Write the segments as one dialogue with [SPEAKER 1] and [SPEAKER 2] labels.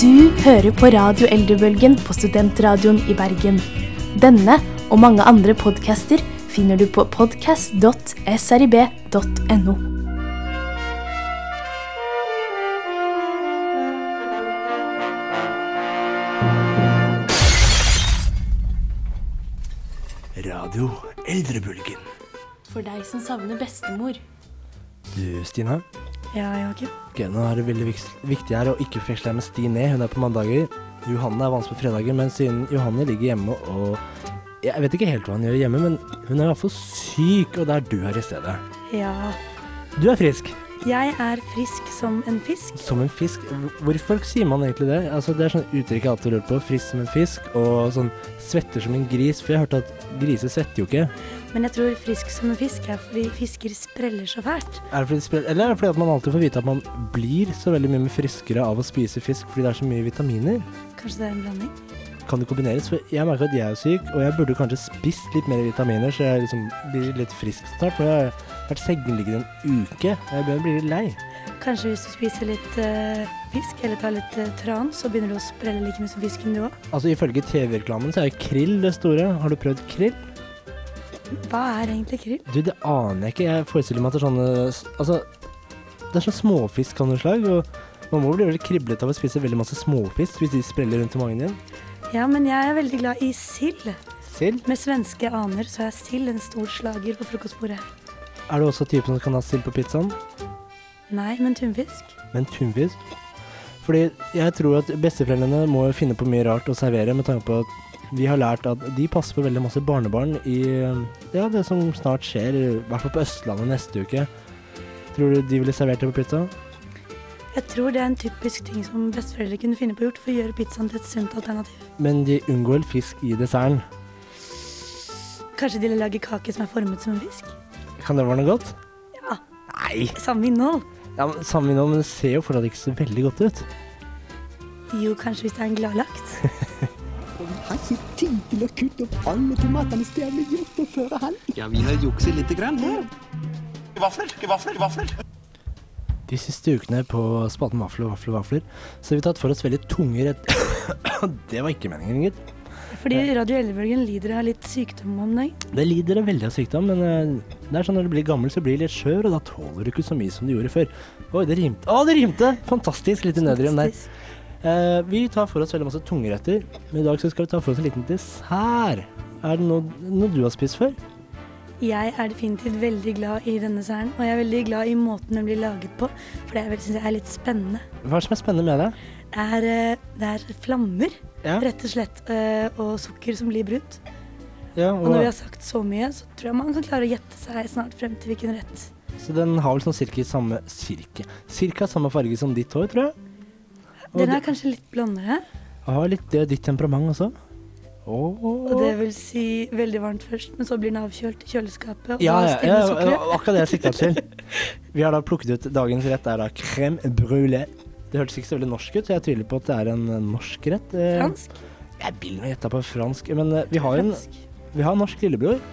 [SPEAKER 1] Du hører på Radio Eldrebølgen på Studentradioen i Bergen. Denne og mange andre podcaster finner du på podcast.srib.no.
[SPEAKER 2] Radio Eldrebølgen.
[SPEAKER 1] For deg som savner bestemor.
[SPEAKER 2] Du, Stina.
[SPEAKER 3] Ja, Joakim.
[SPEAKER 2] Ok, nå er det veldig viks- viktig her å ikke forveksle deg med Stine. Hun er på mandager. Johanne er vanskelig på fredager, men siden Johanne ligger hjemme og Jeg vet ikke helt hva hun gjør hjemme, men hun er iallfall syk, og det er du her i stedet.
[SPEAKER 3] Ja.
[SPEAKER 2] Du er frisk.
[SPEAKER 3] Jeg er frisk som en fisk.
[SPEAKER 2] Som en fisk. Hvorfor sier man egentlig det? Altså, det er sånn uttrykk jeg alltid lurer på. Frisk som en fisk, og sånn svetter som en gris. For jeg hørte at griser svetter jo ikke.
[SPEAKER 3] Men jeg tror frisk som en fisk er fordi fisker spreller så fælt.
[SPEAKER 2] Er det fordi, det spiller- eller er det fordi at man alltid får vite at man blir så veldig mye mer friskere av å spise fisk fordi det er så mye vitaminer?
[SPEAKER 3] Kanskje det er en blanding?
[SPEAKER 2] Kan det kombineres? For jeg merker at jeg er syk, og jeg burde kanskje spist litt mer vitaminer, så jeg liksom blir litt frisk snart. For jeg har vært sengeliggende en uke, og jeg begynner å bli litt lei.
[SPEAKER 3] Kanskje hvis du spiser litt eh, fisk eller tar litt eh, tran, så begynner du å sprelle like mye som fisken du òg.
[SPEAKER 2] Altså Ifølge TV-reklamen så er jo krill det store. Har du prøvd krill?
[SPEAKER 3] Hva er egentlig krill?
[SPEAKER 2] Du, det aner jeg ikke. Jeg forestiller meg at det er sånne s- Altså, det er sånn småfisk av noe slag. og man må bli veldig kriblete av å spise veldig masse småfisk hvis de spreller rundt i magen din.
[SPEAKER 3] Ja, men jeg er veldig glad i sild.
[SPEAKER 2] Sild?
[SPEAKER 3] Med svenske aner så er sild en stor slager på frokostbordet.
[SPEAKER 2] Er du også typen som kan ha sild på pizzaen?
[SPEAKER 3] Nei, men tunfisk?
[SPEAKER 2] Men tunfisk? Fordi jeg tror at besteforeldrene må jo finne på mye rart å servere, med tanke på at vi har lært at de passer på veldig masse barnebarn i ja, det som snart skjer, i hvert fall på Østlandet neste uke. Tror du de ville servert det på pizza?
[SPEAKER 3] Jeg tror det er en typisk ting som besteforeldre kunne finne på gjort for å gjøre pizzaen til et sunt alternativ.
[SPEAKER 2] Men de unngår fisk i desserten.
[SPEAKER 3] Kanskje de lager kake som er formet som en fisk?
[SPEAKER 2] Kan det være noe godt?
[SPEAKER 3] Ja,
[SPEAKER 2] Nei!
[SPEAKER 3] samme innhold.
[SPEAKER 2] Ja, men Samme nå, men det ser jo fortsatt ikke så veldig godt ut.
[SPEAKER 3] Jo, kanskje hvis det er en gladlaks.
[SPEAKER 4] Og vi har ikke tid til å kutte opp alle tomatene Stjerne gjort på førerhånd.
[SPEAKER 5] Ja, vi har jukset lite grann her.
[SPEAKER 6] Vafler, vafler, vafler.
[SPEAKER 2] De siste ukene på spalten Vafler, vafler, vafler, så har vi tatt for oss veldig tunge rett... det var ikke meningen, gitt.
[SPEAKER 3] Fordi Radio Eldrebølgen lider av litt sykdom om dagen.
[SPEAKER 2] Det lider jeg veldig av sykdom, men eh, det er sånn når du blir gammel, så blir du litt skjør, og da tåler du ikke så mye som du gjorde før. Oi, det rimte. Å, det rimte! Fantastisk. Litt i nødrim der.
[SPEAKER 3] Fantastisk.
[SPEAKER 2] Eh, vi tar for oss veldig masse tungretter, men i dag så skal vi ta for oss en liten dessert. Er det noe, noe du har spist før?
[SPEAKER 3] Jeg er definitivt veldig glad i denne særen, og jeg er veldig glad i måten den blir laget på, for det syns jeg er litt spennende.
[SPEAKER 2] Hva er det som er spennende med det?
[SPEAKER 3] Det er, eh, det er flammer,
[SPEAKER 2] Ja.
[SPEAKER 3] rett og slett, eh, og sukker som blir brunt.
[SPEAKER 2] Ja,
[SPEAKER 3] Og når vi
[SPEAKER 2] og,
[SPEAKER 3] har sagt så mye, så tror jeg man kan klare å gjette seg snart frem til hvilken rett.
[SPEAKER 2] så den har vel sånn cirka i samme Cirka, cirka samme farge som ditt hår, tror jeg. Og
[SPEAKER 3] Den
[SPEAKER 2] det-
[SPEAKER 3] er kanskje litt blondere,
[SPEAKER 2] Jeg har litt det, ditt temperament også. Åh.
[SPEAKER 3] og det vil si veldig varmt først, men så blir den avkjølt i kjøleskapet, og
[SPEAKER 2] Ja, ja,
[SPEAKER 3] da
[SPEAKER 2] ja,
[SPEAKER 3] stivner
[SPEAKER 2] ja,
[SPEAKER 3] sukkeret.
[SPEAKER 2] akkurat det jeg sikta til. Vi har da plukket ut dagens rett, er da crème brulé. Det hørtes ikke så veldig norsk ut, så jeg tviler på at det er en eh, norsk rett. Eh,
[SPEAKER 3] Fransk.
[SPEAKER 2] Jeg vil nå gjette på fransk, men eh, vi har en
[SPEAKER 3] fransk.
[SPEAKER 2] vi har en norsk lillebror.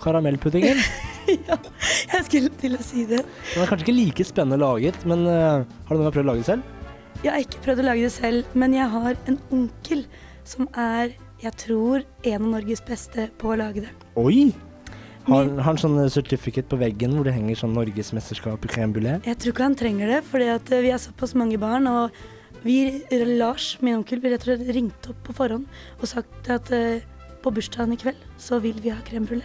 [SPEAKER 2] Karamellpuddingen.
[SPEAKER 3] Jeg skulle til å si det.
[SPEAKER 2] Den er kanskje ikke like spennende laget, men eh, har du noen gang prøvd å lage det selv?
[SPEAKER 3] Jeg har ikke prøvd å lage det selv, men jeg har en onkel som er, jeg tror, en av Norges beste på å lage det.
[SPEAKER 2] Oi! Har har han sånn eh, certificate på veggen hvor det henger sånn Norgesmesterskap i crème brulé?
[SPEAKER 3] Jeg tror ikke han trenger det, for vi er såpass mange barn. Og vi, Lars, min onkel, blir rett og slett ringt opp på forhånd og sagt at eh, på bursdagen i kveld så vil vi ha crème brulé.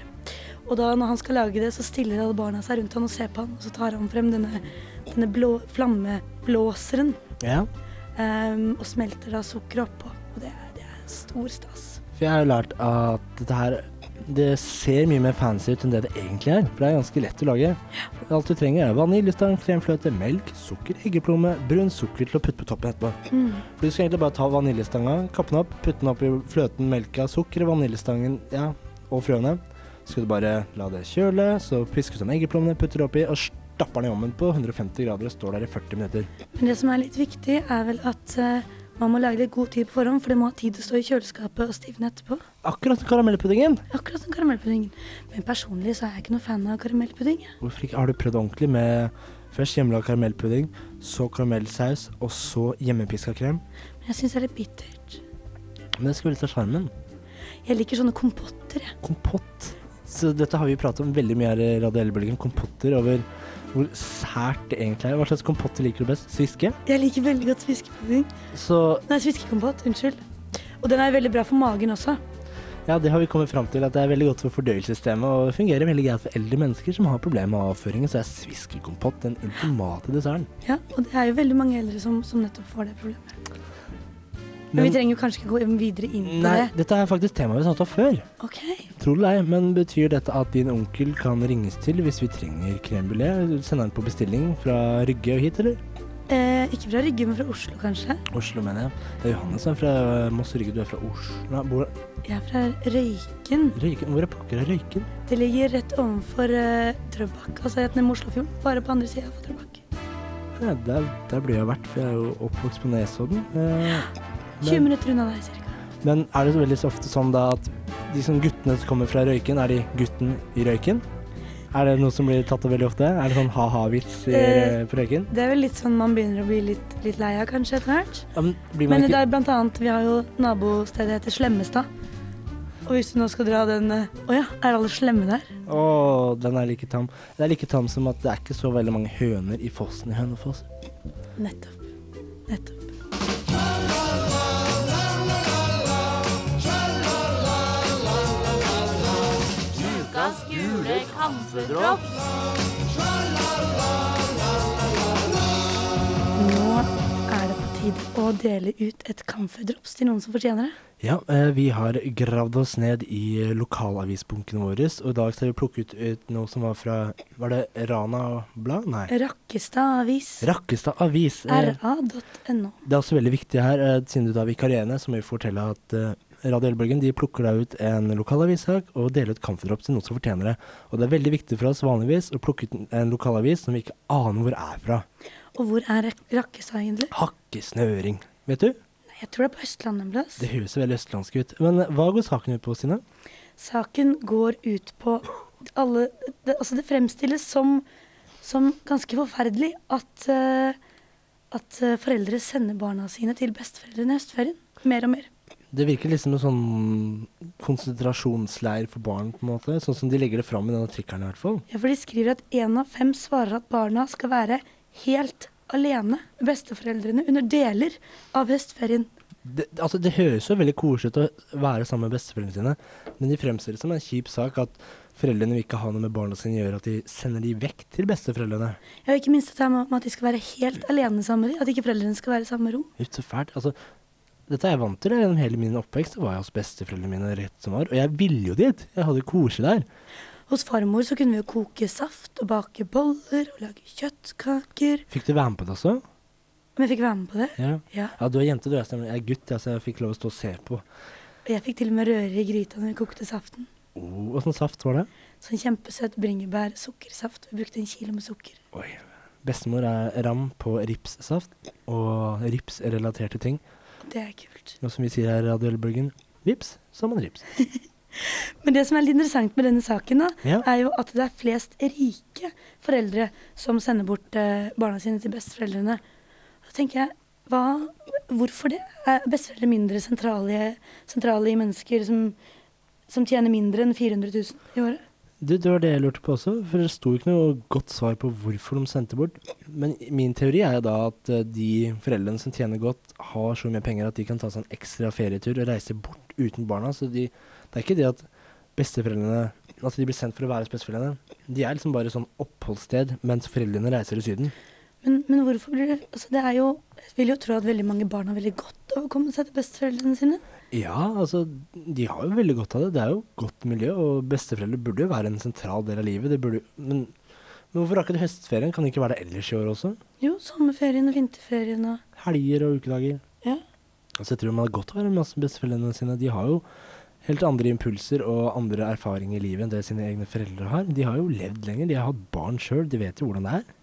[SPEAKER 3] Og da når han skal lage det, så stiller alle barna seg rundt han og ser på han, og så tar han frem denne, denne blå, flammeblåseren
[SPEAKER 2] Ja.
[SPEAKER 3] eh, og smelter da sukkeret oppå. Og det er, det er stor stas.
[SPEAKER 2] For jeg har jo lært at dette her Det ser mye mer fancy ut enn det det egentlig er. For det er ganske lett å lage. Alt du trenger er vaniljestang, kremfløte, melk, sukker, eggeplomme, brun sukker til å putte på toppen etterpå. For du skal egentlig bare ta vaniljestanga, kappe den opp, putte den opp i fløten, melka, sukkeret, vaniljestangen ja, og frøene. Så skal du bare la det kjøle, så pisker du den eggeplommene, putter det oppi og stapper den i ovnen på 150 grader og står der i 40 minutter.
[SPEAKER 3] Men det som er litt viktig, er vel at eh, man må lage litt god tid på forhånd, for det må ha tid til å stå i kjøleskapet og stivne etterpå.
[SPEAKER 2] Akkurat som karamellpuddingen.
[SPEAKER 3] Akkurat som karamellpuddingen. Men personlig så er jeg ikke noe fan av karamellpudding. jeg.
[SPEAKER 2] Hvorfor ikke? Har du prøvd ordentlig med Først hjemmelaga karamellpudding, så karamellsaus, og så hjemmepiska krem.
[SPEAKER 3] Men jeg syns det er litt bittert.
[SPEAKER 2] Men det skal være litt av sjarmen.
[SPEAKER 3] Jeg liker sånne kompotter, jeg.
[SPEAKER 2] Kompott. Så dette har vi pratet om veldig mye her i Radio Elbølgen. Kompotter over hvor sært det egentlig er. Hva slags kompotter liker du best? Sviske?
[SPEAKER 3] Jeg liker veldig godt sviskepudding.
[SPEAKER 2] Så
[SPEAKER 3] Nei, sviskekompott. Unnskyld. Og den er veldig bra for magen også.
[SPEAKER 2] ja, det har vi kommet fram til at det er veldig godt for fordøyelsessystemet, og det fungerer veldig greit for eldre mennesker som har problemer med avføringen, så er sviskekompott den ultimate desserten.
[SPEAKER 3] Ja, Og det er jo veldig mange eldre som, som nettopp får det problemet. Men, vi
[SPEAKER 2] Men
[SPEAKER 3] trenger jo kanskje ikke gå videre inn på
[SPEAKER 2] nei, dette er faktisk temaet vi har tatt opp før.
[SPEAKER 3] det. Ok.
[SPEAKER 2] Tror det ei, men betyr dette at din onkel kan ringes til hvis vi trenger crème brulé? Sender den på bestilling fra Rygge og hit, eller?
[SPEAKER 3] Eh, ikke fra Rygge, men fra Oslo, kanskje.
[SPEAKER 2] Oslo, mener jeg. Det er Johannes som er fra Moss og Rygge, du er fra Oslo Nei, hvor,
[SPEAKER 3] Jeg er fra Røyken.
[SPEAKER 2] Røyken, hvor er pokker er Røyken?
[SPEAKER 3] Det ligger rett ovenfor eh, Drøbak, altså rett ned med Oslofjorden. Bare på andre sida av Drøbak.
[SPEAKER 2] Ja, der, der burde jeg vært, for jeg er jo oppvokst på Nesodden. Eh,
[SPEAKER 3] 20 minutter unna deg, cirka.
[SPEAKER 2] men er det så veldig så ofte sånn da at de som guttene som kommer fra Røyken, er de gutten i Røyken? Er det noe som blir tatt opp veldig ofte? Er det sånn ha-ha-vits i-
[SPEAKER 3] Eh,
[SPEAKER 2] på Røyken?
[SPEAKER 3] Det er vel litt sånn man begynner å bli litt, litt lei av, kanskje, etter hvert.
[SPEAKER 2] Ja, men blir man
[SPEAKER 3] Men det
[SPEAKER 2] ikke...
[SPEAKER 3] er blant annet, vi har jo nabostedet heter Slemmestad. Og hvis du nå skal dra den eh, Å ja, er alle slemme der?
[SPEAKER 2] Å, den er like tam. Det er like tam som at det er ikke så veldig mange høner i fossen i Hønefoss.
[SPEAKER 3] Nettopp. Nettopp. Nå er det på tide å dele ut et kamferdrops til noen som fortjener det.
[SPEAKER 2] Ja, eh, vi har gravd oss ned i lokalavisbunkene våre, og i dag skal vi plukke ut, ut noe som var fra Var det Rana Blad? Nei.
[SPEAKER 3] Rakkestad Avis.
[SPEAKER 2] Rakkestad Avis. Eh,
[SPEAKER 3] ra.no.
[SPEAKER 2] Det er også veldig viktig her, eh, siden du da er vikarierende, så må vi fortelle at eh, Radio Elbølgen de plukker da ut en lokalavissak og deler ut kampdrops til noen som fortjener det. Og det er veldig viktig for oss vanligvis å plukke ut en- en lokalavis som vi ikke aner hvor er fra.
[SPEAKER 3] Og hvor er Rak- Rakkestad egentlig?
[SPEAKER 2] Hakkesnøring. Vet du?
[SPEAKER 3] Nei, Jeg tror det er på Østlandet en plass.
[SPEAKER 2] Det høres veldig østlandsk ut. Men hva går saken ut på, Stine?
[SPEAKER 3] Saken går ut på alle det, Altså, det fremstilles som, som ganske forferdelig at, eh, at eh, foreldre sender barna sine til besteforeldrene i høstferien. Mer og mer.
[SPEAKER 2] Det virker liksom en sånn konsentrasjonsleir for barn, på en måte. Sånn som de legger det fram i denne artikkelen, i hvert fall.
[SPEAKER 3] Ja, for de skriver at én av fem svarer at barna skal være helt alene med besteforeldrene under deler av høstferien.
[SPEAKER 2] Det, altså, det høres jo veldig koselig ut å være sammen med besteforeldrene sine, men de fremstiller det som en kjip sak at foreldrene vil ikke ha noe med barna sine å gjøre, at de sender de vekk til besteforeldrene.
[SPEAKER 3] Ja, og ikke minst dette her med med at de skal være helt alene sammen med dem. At ikke foreldrene skal være i samme rom.
[SPEAKER 2] Ut så fælt. Altså, dette er jeg vant til. det. Gjennom hele min oppvekst så var jeg hos besteforeldrene mine rett som var, og jeg ville jo dit. Jeg hadde det koselig der.
[SPEAKER 3] Hos farmor så kunne vi jo koke saft og bake boller og lage kjøttkaker.
[SPEAKER 2] Fikk du være med på det også?
[SPEAKER 3] Men jeg fikk være med på det.
[SPEAKER 2] Ja.
[SPEAKER 3] Ja,
[SPEAKER 2] Ja, du er jente, du er stemmer. Jeg er gutt, ja, så jeg fikk lov å stå og se på.
[SPEAKER 3] og jeg fikk til og med røre i gryta når vi kokte saften.
[SPEAKER 2] Oh, Åssen saft var det?
[SPEAKER 3] Sånn kjempesøt bringebær-sukkersaft. Vi brukte en kilo med sukker.
[SPEAKER 2] Oi. Bestemor er ram på ripssaft og ripsrelaterte ting.
[SPEAKER 3] Det er kult.
[SPEAKER 2] Noe som vi sier her i Radio Elbølgen. Vips, så har man rips.
[SPEAKER 3] Men det som er litt interessant med denne saken, da,
[SPEAKER 2] Ja.
[SPEAKER 3] er jo at det er flest rike foreldre som sender bort eh, barna sine til besteforeldrene. Da tenker jeg, hva, hvorfor det? Er besteforeldre mindre sentrale, sentrale i mennesker som, som tjener mindre enn 400 000 i året?
[SPEAKER 2] Du, det var det jeg lurte på også, for det sto ikke noe godt svar på hvorfor de sendte bort. Men min teori er jo da at eh, de foreldrene som tjener godt, har så mye penger at de kan ta seg en ekstra ferietur og reise bort uten barna. Så de, det er ikke det at besteforeldrene Altså, de blir sendt for å være hos besteforeldrene. De er liksom bare sånn oppholdssted mens foreldrene reiser til Syden.
[SPEAKER 3] Men, men hvorfor blir det altså det er jo, Jeg vil jo tro at veldig mange barn har veldig godt av å komme seg til besteforeldrene sine.
[SPEAKER 2] Ja, altså, de har jo veldig godt av det. Det er jo godt miljø, og besteforeldre burde jo være en sentral del av livet. Det burde, men, men hvorfor akkurat høstferien? Kan det ikke være det ellers i år også?
[SPEAKER 3] Jo, sommerferien og vinterferien og
[SPEAKER 2] Helger og ukedager.
[SPEAKER 3] Ja.
[SPEAKER 2] Altså, jeg tror man har godt av å være med masse besteforeldrene sine. De har jo helt andre impulser og andre erfaringer i livet enn det sine egne foreldre har. De har jo levd lenger, de har hatt barn sjøl, de vet jo hvordan det er.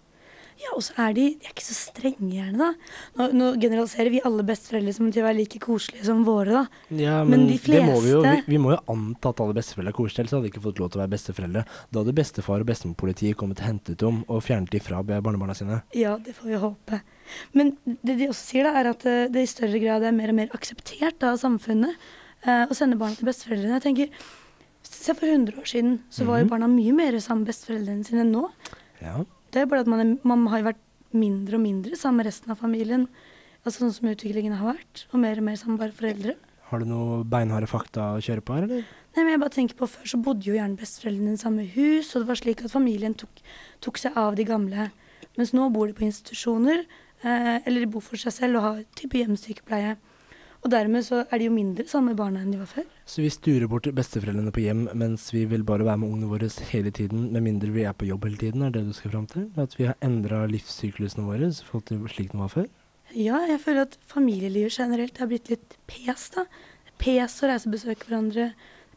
[SPEAKER 3] Ja, og så er de, de er ikke så strenge gjerne, da. Nå, nå generaliserer vi alle besteforeldre som til å være like koselige som våre, da.
[SPEAKER 2] Ja, men,
[SPEAKER 3] Men de
[SPEAKER 2] det må vi, jo, vi,
[SPEAKER 3] fleste-
[SPEAKER 2] vi må jo anta at alle besteforeldre er koselige, ellers hadde de ikke fått lov til å være besteforeldre. Da hadde bestefar og bestemorpolitiet kommet og hentet dem og fjernet de fra barnebarna sine.
[SPEAKER 3] Ja, det får vi håpe. Men det de også sier, da, er at eh, det i større grad er mer og mer akseptert da, av samfunnet eh, å sende barna til besteforeldrene. Jeg tenker, Se for 100 år siden så var jo barna mye mer sammen med besteforeldrene sine enn nå.
[SPEAKER 2] Ja.
[SPEAKER 3] Det er bare at man, er, man har jo vært mindre og mindre sammen med resten av familien. Altså Sånn som utviklingen har vært, og mer og mer sammen med bare foreldre.
[SPEAKER 2] Har du noe beinharde fakta å kjøre på her, eller?
[SPEAKER 3] Nei, men jeg bare tenker på Før så bodde jo gjerne besteforeldrene i samme hus, og det var slik at familien tok, tok seg av de gamle. Mens nå bor de på institusjoner, eh, eller de bor for seg selv og har type hjemmesykepleie. Og dermed så er de jo mindre sammen med barna enn de var før.
[SPEAKER 2] Så vi sturer bort besteforeldrene på hjem, mens vi vil bare være med ungene våre hele tiden, med mindre vi er på jobb hele tiden, er det du skal fram til? At vi har endra livssyklusene våre i forhold til slik den var før?
[SPEAKER 3] Ja, jeg føler at familielivet generelt har blitt litt pes, da. Pes å reise og besøke hverandre.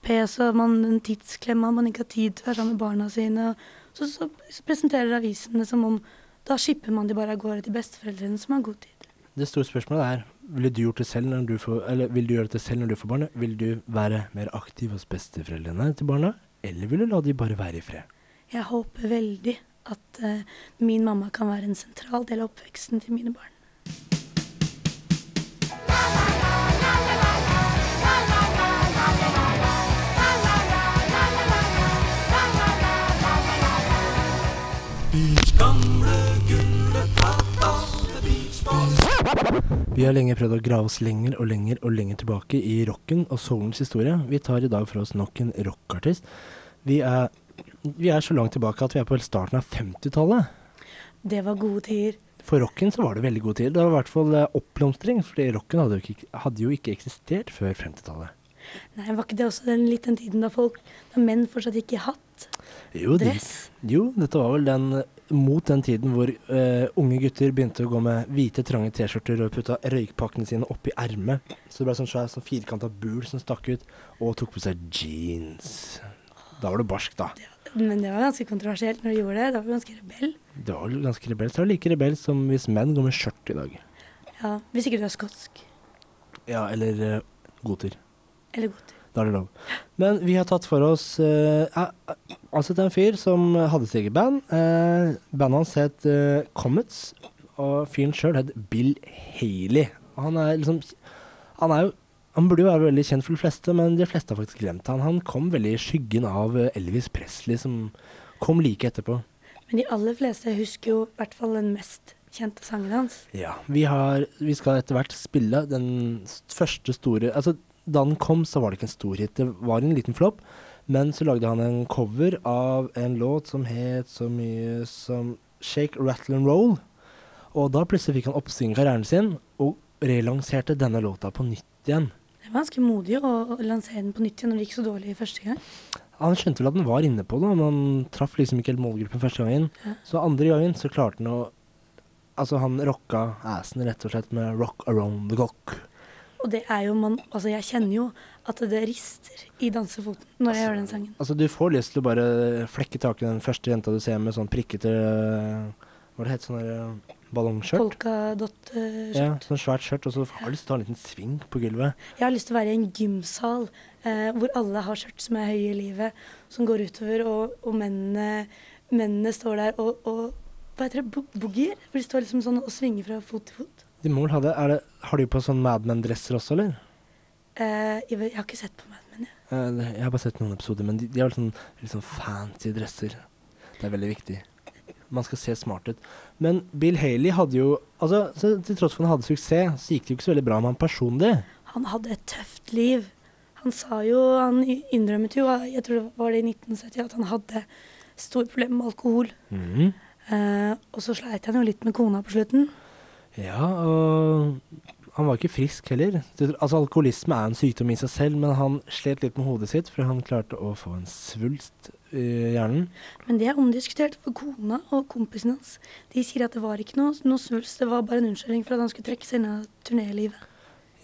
[SPEAKER 3] Pes og man en tidsklemma, man ikke har tid til å være sammen med barna sine. Og så, så, så presenterer avisene som om da skipper man de bare av gårde til besteforeldrene som har god tid.
[SPEAKER 2] Det store spørsmålet er ville du gjort det selv når du får, eller vil du gjøre det selv når du får barn? Vil du være mer aktiv hos besteforeldrene til barna, eller vil du la de bare være i fred?
[SPEAKER 3] Jeg håper veldig at eh, min mamma kan være en sentral del av oppveksten til mine barn.
[SPEAKER 2] Vi har lenge prøvd å grave oss lenger og lenger og lenger tilbake i rocken og soulens historie. Vi tar i dag for oss nok en rockartist. Vi er, vi er så langt tilbake at vi er på starten av 50-tallet.
[SPEAKER 3] Det var gode tider.
[SPEAKER 2] For rocken så var det veldig god tid. Det var i hvert fall eh, oppblomstring, fordi rocken hadde jo ikke, hadde jo ikke eksistert før 50-tallet.
[SPEAKER 3] Nei, var ikke det også den, litt den tiden da folk, da menn fortsatt gikk i hatt?
[SPEAKER 2] Jo, de-
[SPEAKER 3] Dress?
[SPEAKER 2] Jo, dette var vel den, eh, mot den tiden hvor eh, unge gutter begynte å gå med hvite, trange T-skjorter og putta røykpakkene sine oppi ermet. Så det ble sånn svær sånn firkanta bul som stakk ut, og tok på seg jeans. Da var du barsk, da.
[SPEAKER 3] Men det var ganske kontroversielt når de gjorde det. Da var vi ganske rebell.
[SPEAKER 2] Det var vel ganske rebelsk. Det var like rebelsk som hvis menn går med skjørt i dag.
[SPEAKER 3] Ja, Hvis ikke du er skotsk
[SPEAKER 2] Ja, eller eh, goter.
[SPEAKER 3] eller goter.
[SPEAKER 2] Da er det lov. Men vi har tatt for oss eh, eh, eh, Altså, det er en fyr som hadde sitt eget band. Eh, bandet hans het eh, Comets, og fyren sjøl het Bill Haley. Og Han er liksom Han er jo han burde jo være veldig kjent for de fleste, men de fleste har faktisk glemt han. Han kom veldig i skyggen av eh, Elvis Presley, som kom like etterpå.
[SPEAKER 3] Men de aller fleste husker jo i hvert fall den mest kjente sangen hans.
[SPEAKER 2] Ja, vi, har, vi skal etter hvert spille den s- første store Altså, da den kom, så var det ikke en stor hit. Det var en liten flopp. Men så lagde han en cover av en låt som het så mye som Shake, Rattle and Roll. Og da plutselig fikk han oppsving i karrieren sin, og relanserte denne låta på nytt igjen.
[SPEAKER 3] Det var ganske modig å, å lansere den på nytt igjen når det gikk så dårlig første gang.
[SPEAKER 2] Han skjønte vel at den var inne på det, men han traff liksom ikke helt målgruppen første gangen. Så andre gangen så klarte han å Altså, han rocka assen rett og slett med Rock Around the Cock.
[SPEAKER 3] Og det er jo man Altså, jeg kjenner jo at det rister i dansefoten når jeg hører den sangen.
[SPEAKER 2] Altså, du får lyst til å bare flekke tak i den første jenta du ser med sånn prikkete øh, Hva det heter sånn der øh, ballongskjørt?
[SPEAKER 3] Polkadott-skjørt.
[SPEAKER 2] Ja, sånn svært skjørt, og så har du lyst til å ta en liten sving på gulvet.
[SPEAKER 3] Jeg har lyst til å være i en gymsal eh, hvor alle har skjørt som er høye i livet, som går utover, og, og mennene, mennene står der og, og hva heter det, bo boogier? For de står liksom sånn og svinger fra fot til fot.
[SPEAKER 2] De må vel ha det, er det Har de på sånn Mad Men-dresser også, eller?
[SPEAKER 3] Eh, jeg, vet, jeg har ikke sett på Mad Men, jeg.
[SPEAKER 2] Eh, det- Jeg har bare sett noen episoder, men de, de har vel sånn litt sånn fancy dresser. Det er veldig viktig. Man skal se smart ut. Men Bill Haley hadde jo Altså, så til tross for at han hadde suksess, så gikk det jo ikke så veldig bra med han personlig.
[SPEAKER 3] Han hadde et tøft liv. Han sa jo, han innrømmet jo, jeg tror det var det i 1970, at han hadde store problemer med alkohol.
[SPEAKER 2] Mhm.
[SPEAKER 3] Eh, og så sleit han jo litt med kona på slutten.
[SPEAKER 2] Ja, og han var ikke frisk heller. Det- Altså, Alkoholisme er en sykdom i seg selv, men han slet litt med hodet sitt, for han klarte å få en svulst i hjernen.
[SPEAKER 3] Men det er omdiskutert, for kona og kompisen hans de sier at det var ikke noe, noe svulst, det var bare en unnskyldning for at han skulle trekke seg unna turnélivet.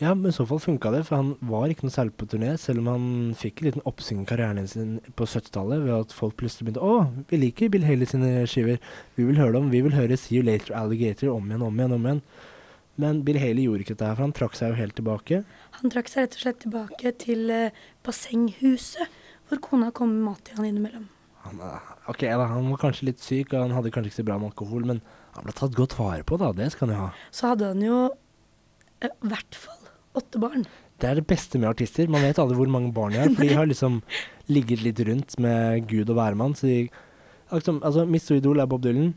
[SPEAKER 2] Ja, men i så fall funka det, for han var ikke noe særlig på turné, selv om han fikk en liten oppsving i karrieren sin på 70-tallet ved at folk plutselig begynte Å, vi liker Bill Haley sine skiver, vi vil høre dem, vi vil høre See You Later Alligator om igjen, om igjen, om igjen. Men Bill Haley gjorde ikke dette, her, for han trakk seg jo helt tilbake.
[SPEAKER 3] Han trakk seg rett og slett tilbake til eh, bassenghuset, hvor kona kom med mat til han innimellom.
[SPEAKER 2] Han, eh, ok, da, han var kanskje litt syk, og han hadde kanskje ikke så bra med alkohol, men han ble tatt godt vare på, da. Det skal han jo ha.
[SPEAKER 3] Så hadde han jo eh, i hvert fall åtte barn.
[SPEAKER 2] Det er det beste med artister. Man vet aldri hvor mange barn de har. For de har liksom ligget litt rundt med Gud og hvermann. Så de liksom, Altså, mitt store idol er Bob Dylan.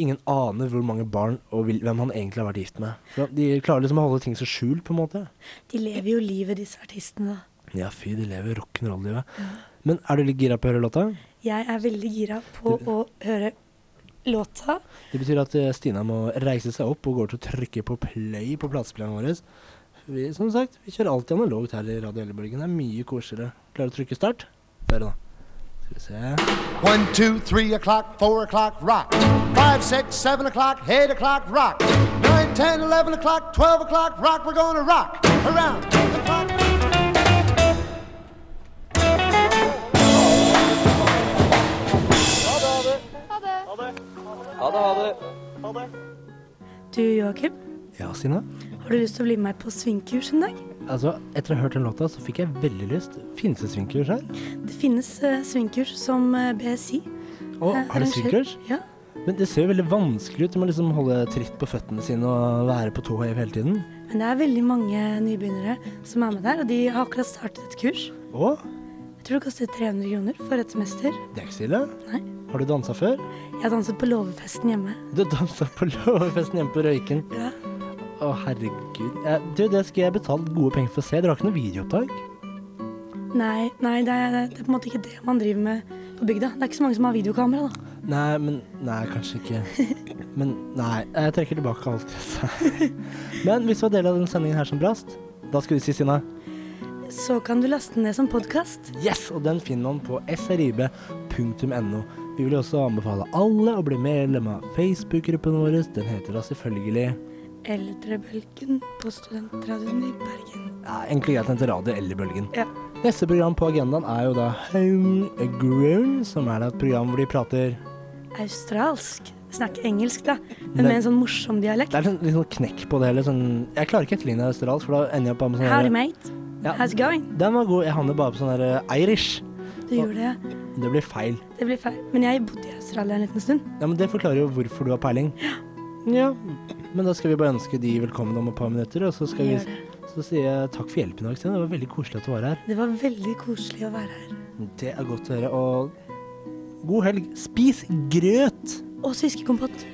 [SPEAKER 2] Ingen aner hvor mange barn og hvil- hvem han egentlig har vært gift med. For de klarer liksom å holde ting så skjult, på en måte.
[SPEAKER 3] De lever jo livet, disse artistene. da.
[SPEAKER 2] Ja, fy, de lever rock'n'roll-livet. Men er du litt gira på å høre låta?
[SPEAKER 3] Jeg er veldig gira på å høre låta.
[SPEAKER 2] Det betyr at eh, Stina må reise seg opp og går til å trykke på play på platespilleren vår. Vi, som sagt, vi kjører alltid analogt her i Radio Ellebølgen. Det er mye koseligere. Klarer du å trykke start? Hør, da. Skal vi se.
[SPEAKER 7] One, two, three o'clock, four o'clock, rock. Five, six, seven o'clock, eight o'clock, rock. Nine, ten, eleven o'clock, twelve o'clock, rock. We're gonna rock around the clock.
[SPEAKER 3] Du Joakim,
[SPEAKER 2] Ja, Stina?
[SPEAKER 3] har du lyst til å bli med meg på svingkurs en dag?
[SPEAKER 2] Altså, etter å ha hørt den låta, så fikk jeg veldig lyst. Finnes det svingkurs her?
[SPEAKER 3] Det finnes eh, svingkurs som eh, BSI.
[SPEAKER 2] Å,
[SPEAKER 3] eh,
[SPEAKER 2] har du
[SPEAKER 3] arrangerer.
[SPEAKER 2] svingkurs?
[SPEAKER 3] Ja.
[SPEAKER 2] Men det ser jo veldig vanskelig ut. Du må liksom holde tritt på føttene sine og være på tå hev hele tiden.
[SPEAKER 3] Men det er veldig mange nybegynnere som er med der, og de har akkurat startet et kurs.
[SPEAKER 2] Å,
[SPEAKER 3] Jeg tror det koster 300 kroner for et semester.
[SPEAKER 2] det er ikke så ille.
[SPEAKER 3] Nei.
[SPEAKER 2] Har du dansa før?
[SPEAKER 3] Jeg danset på låvefesten hjemme.
[SPEAKER 2] Du dansa på låvefesten hjemme på Røyken.
[SPEAKER 3] Ja.
[SPEAKER 2] Å, herregud. Eh, Du, det skulle jeg betalt gode penger for å se. Dere har ikke noe videoopptak?
[SPEAKER 3] Nei, nei det, er, det er på en måte ikke det man driver med på bygda. Det er ikke så mange som har videokamera, da.
[SPEAKER 2] Nei, men Nei, kanskje ikke. Men nei, jeg trekker tilbake alt jeg sa. Men hvis det var del av den sendingen her som brast, da skal du si, Stina
[SPEAKER 3] Så kan du laste den ned som podkast.
[SPEAKER 2] Yes, og den finner man på srib.no. Vi vil også anbefale alle å bli medlem av Facebook-gruppen vår. Den heter da selvfølgelig
[SPEAKER 3] Eldrebølgen på Studentradioen i Bergen.
[SPEAKER 2] ja, Egentlig greit den heter Radio Ellerbølgen.
[SPEAKER 3] Ja.
[SPEAKER 2] Neste program på agendaen er jo da Homegrown, som er da et program hvor de prater
[SPEAKER 3] Australsk. Snakke engelsk, da. Men
[SPEAKER 2] Nei.
[SPEAKER 3] med en sånn morsom dialekt.
[SPEAKER 2] Det er sånn, litt sånn knekk på det hele. Sånn, jeg klarer ikke etterligne australsk, for da ender jeg opp med sånn
[SPEAKER 3] Howdy,
[SPEAKER 2] der-
[SPEAKER 3] mate.
[SPEAKER 2] Ja.
[SPEAKER 3] How's it going?
[SPEAKER 2] Den var god. Jeg havner bare på sånn der eh, Irish.
[SPEAKER 3] Du gjorde det.
[SPEAKER 2] Det blir feil.
[SPEAKER 3] Det blir feil. Men jeg bodde i Australia en liten stund.
[SPEAKER 2] Ja, men Det forklarer jo hvorfor du har peiling. Ja, men da skal vi bare ønske de velkommen om et par minutter, og så skal vi
[SPEAKER 3] Gjør det.
[SPEAKER 2] Så sier jeg takk for hjelpen i dag, Stine. Det var veldig koselig at du var her.
[SPEAKER 3] Det var veldig koselig å være her.
[SPEAKER 2] Det er godt å høre. Og god helg. Spis grøt!
[SPEAKER 3] Og sviskekompott.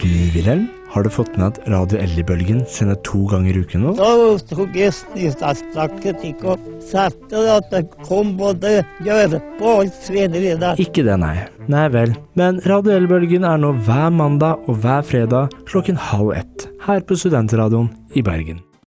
[SPEAKER 2] Du, Wilhelm, har du fått med at Radio Ellibølgen sender to ganger i uken nå?
[SPEAKER 8] Da tok jeg snistakstakket ikke og satte det at det kom både gjørpe og svineri der.
[SPEAKER 2] Ikke det, nei. Nei vel. Men Radio Ellibølgen er nå hver mandag og hver fredag klokken halv ett her på Studentradioen i Bergen.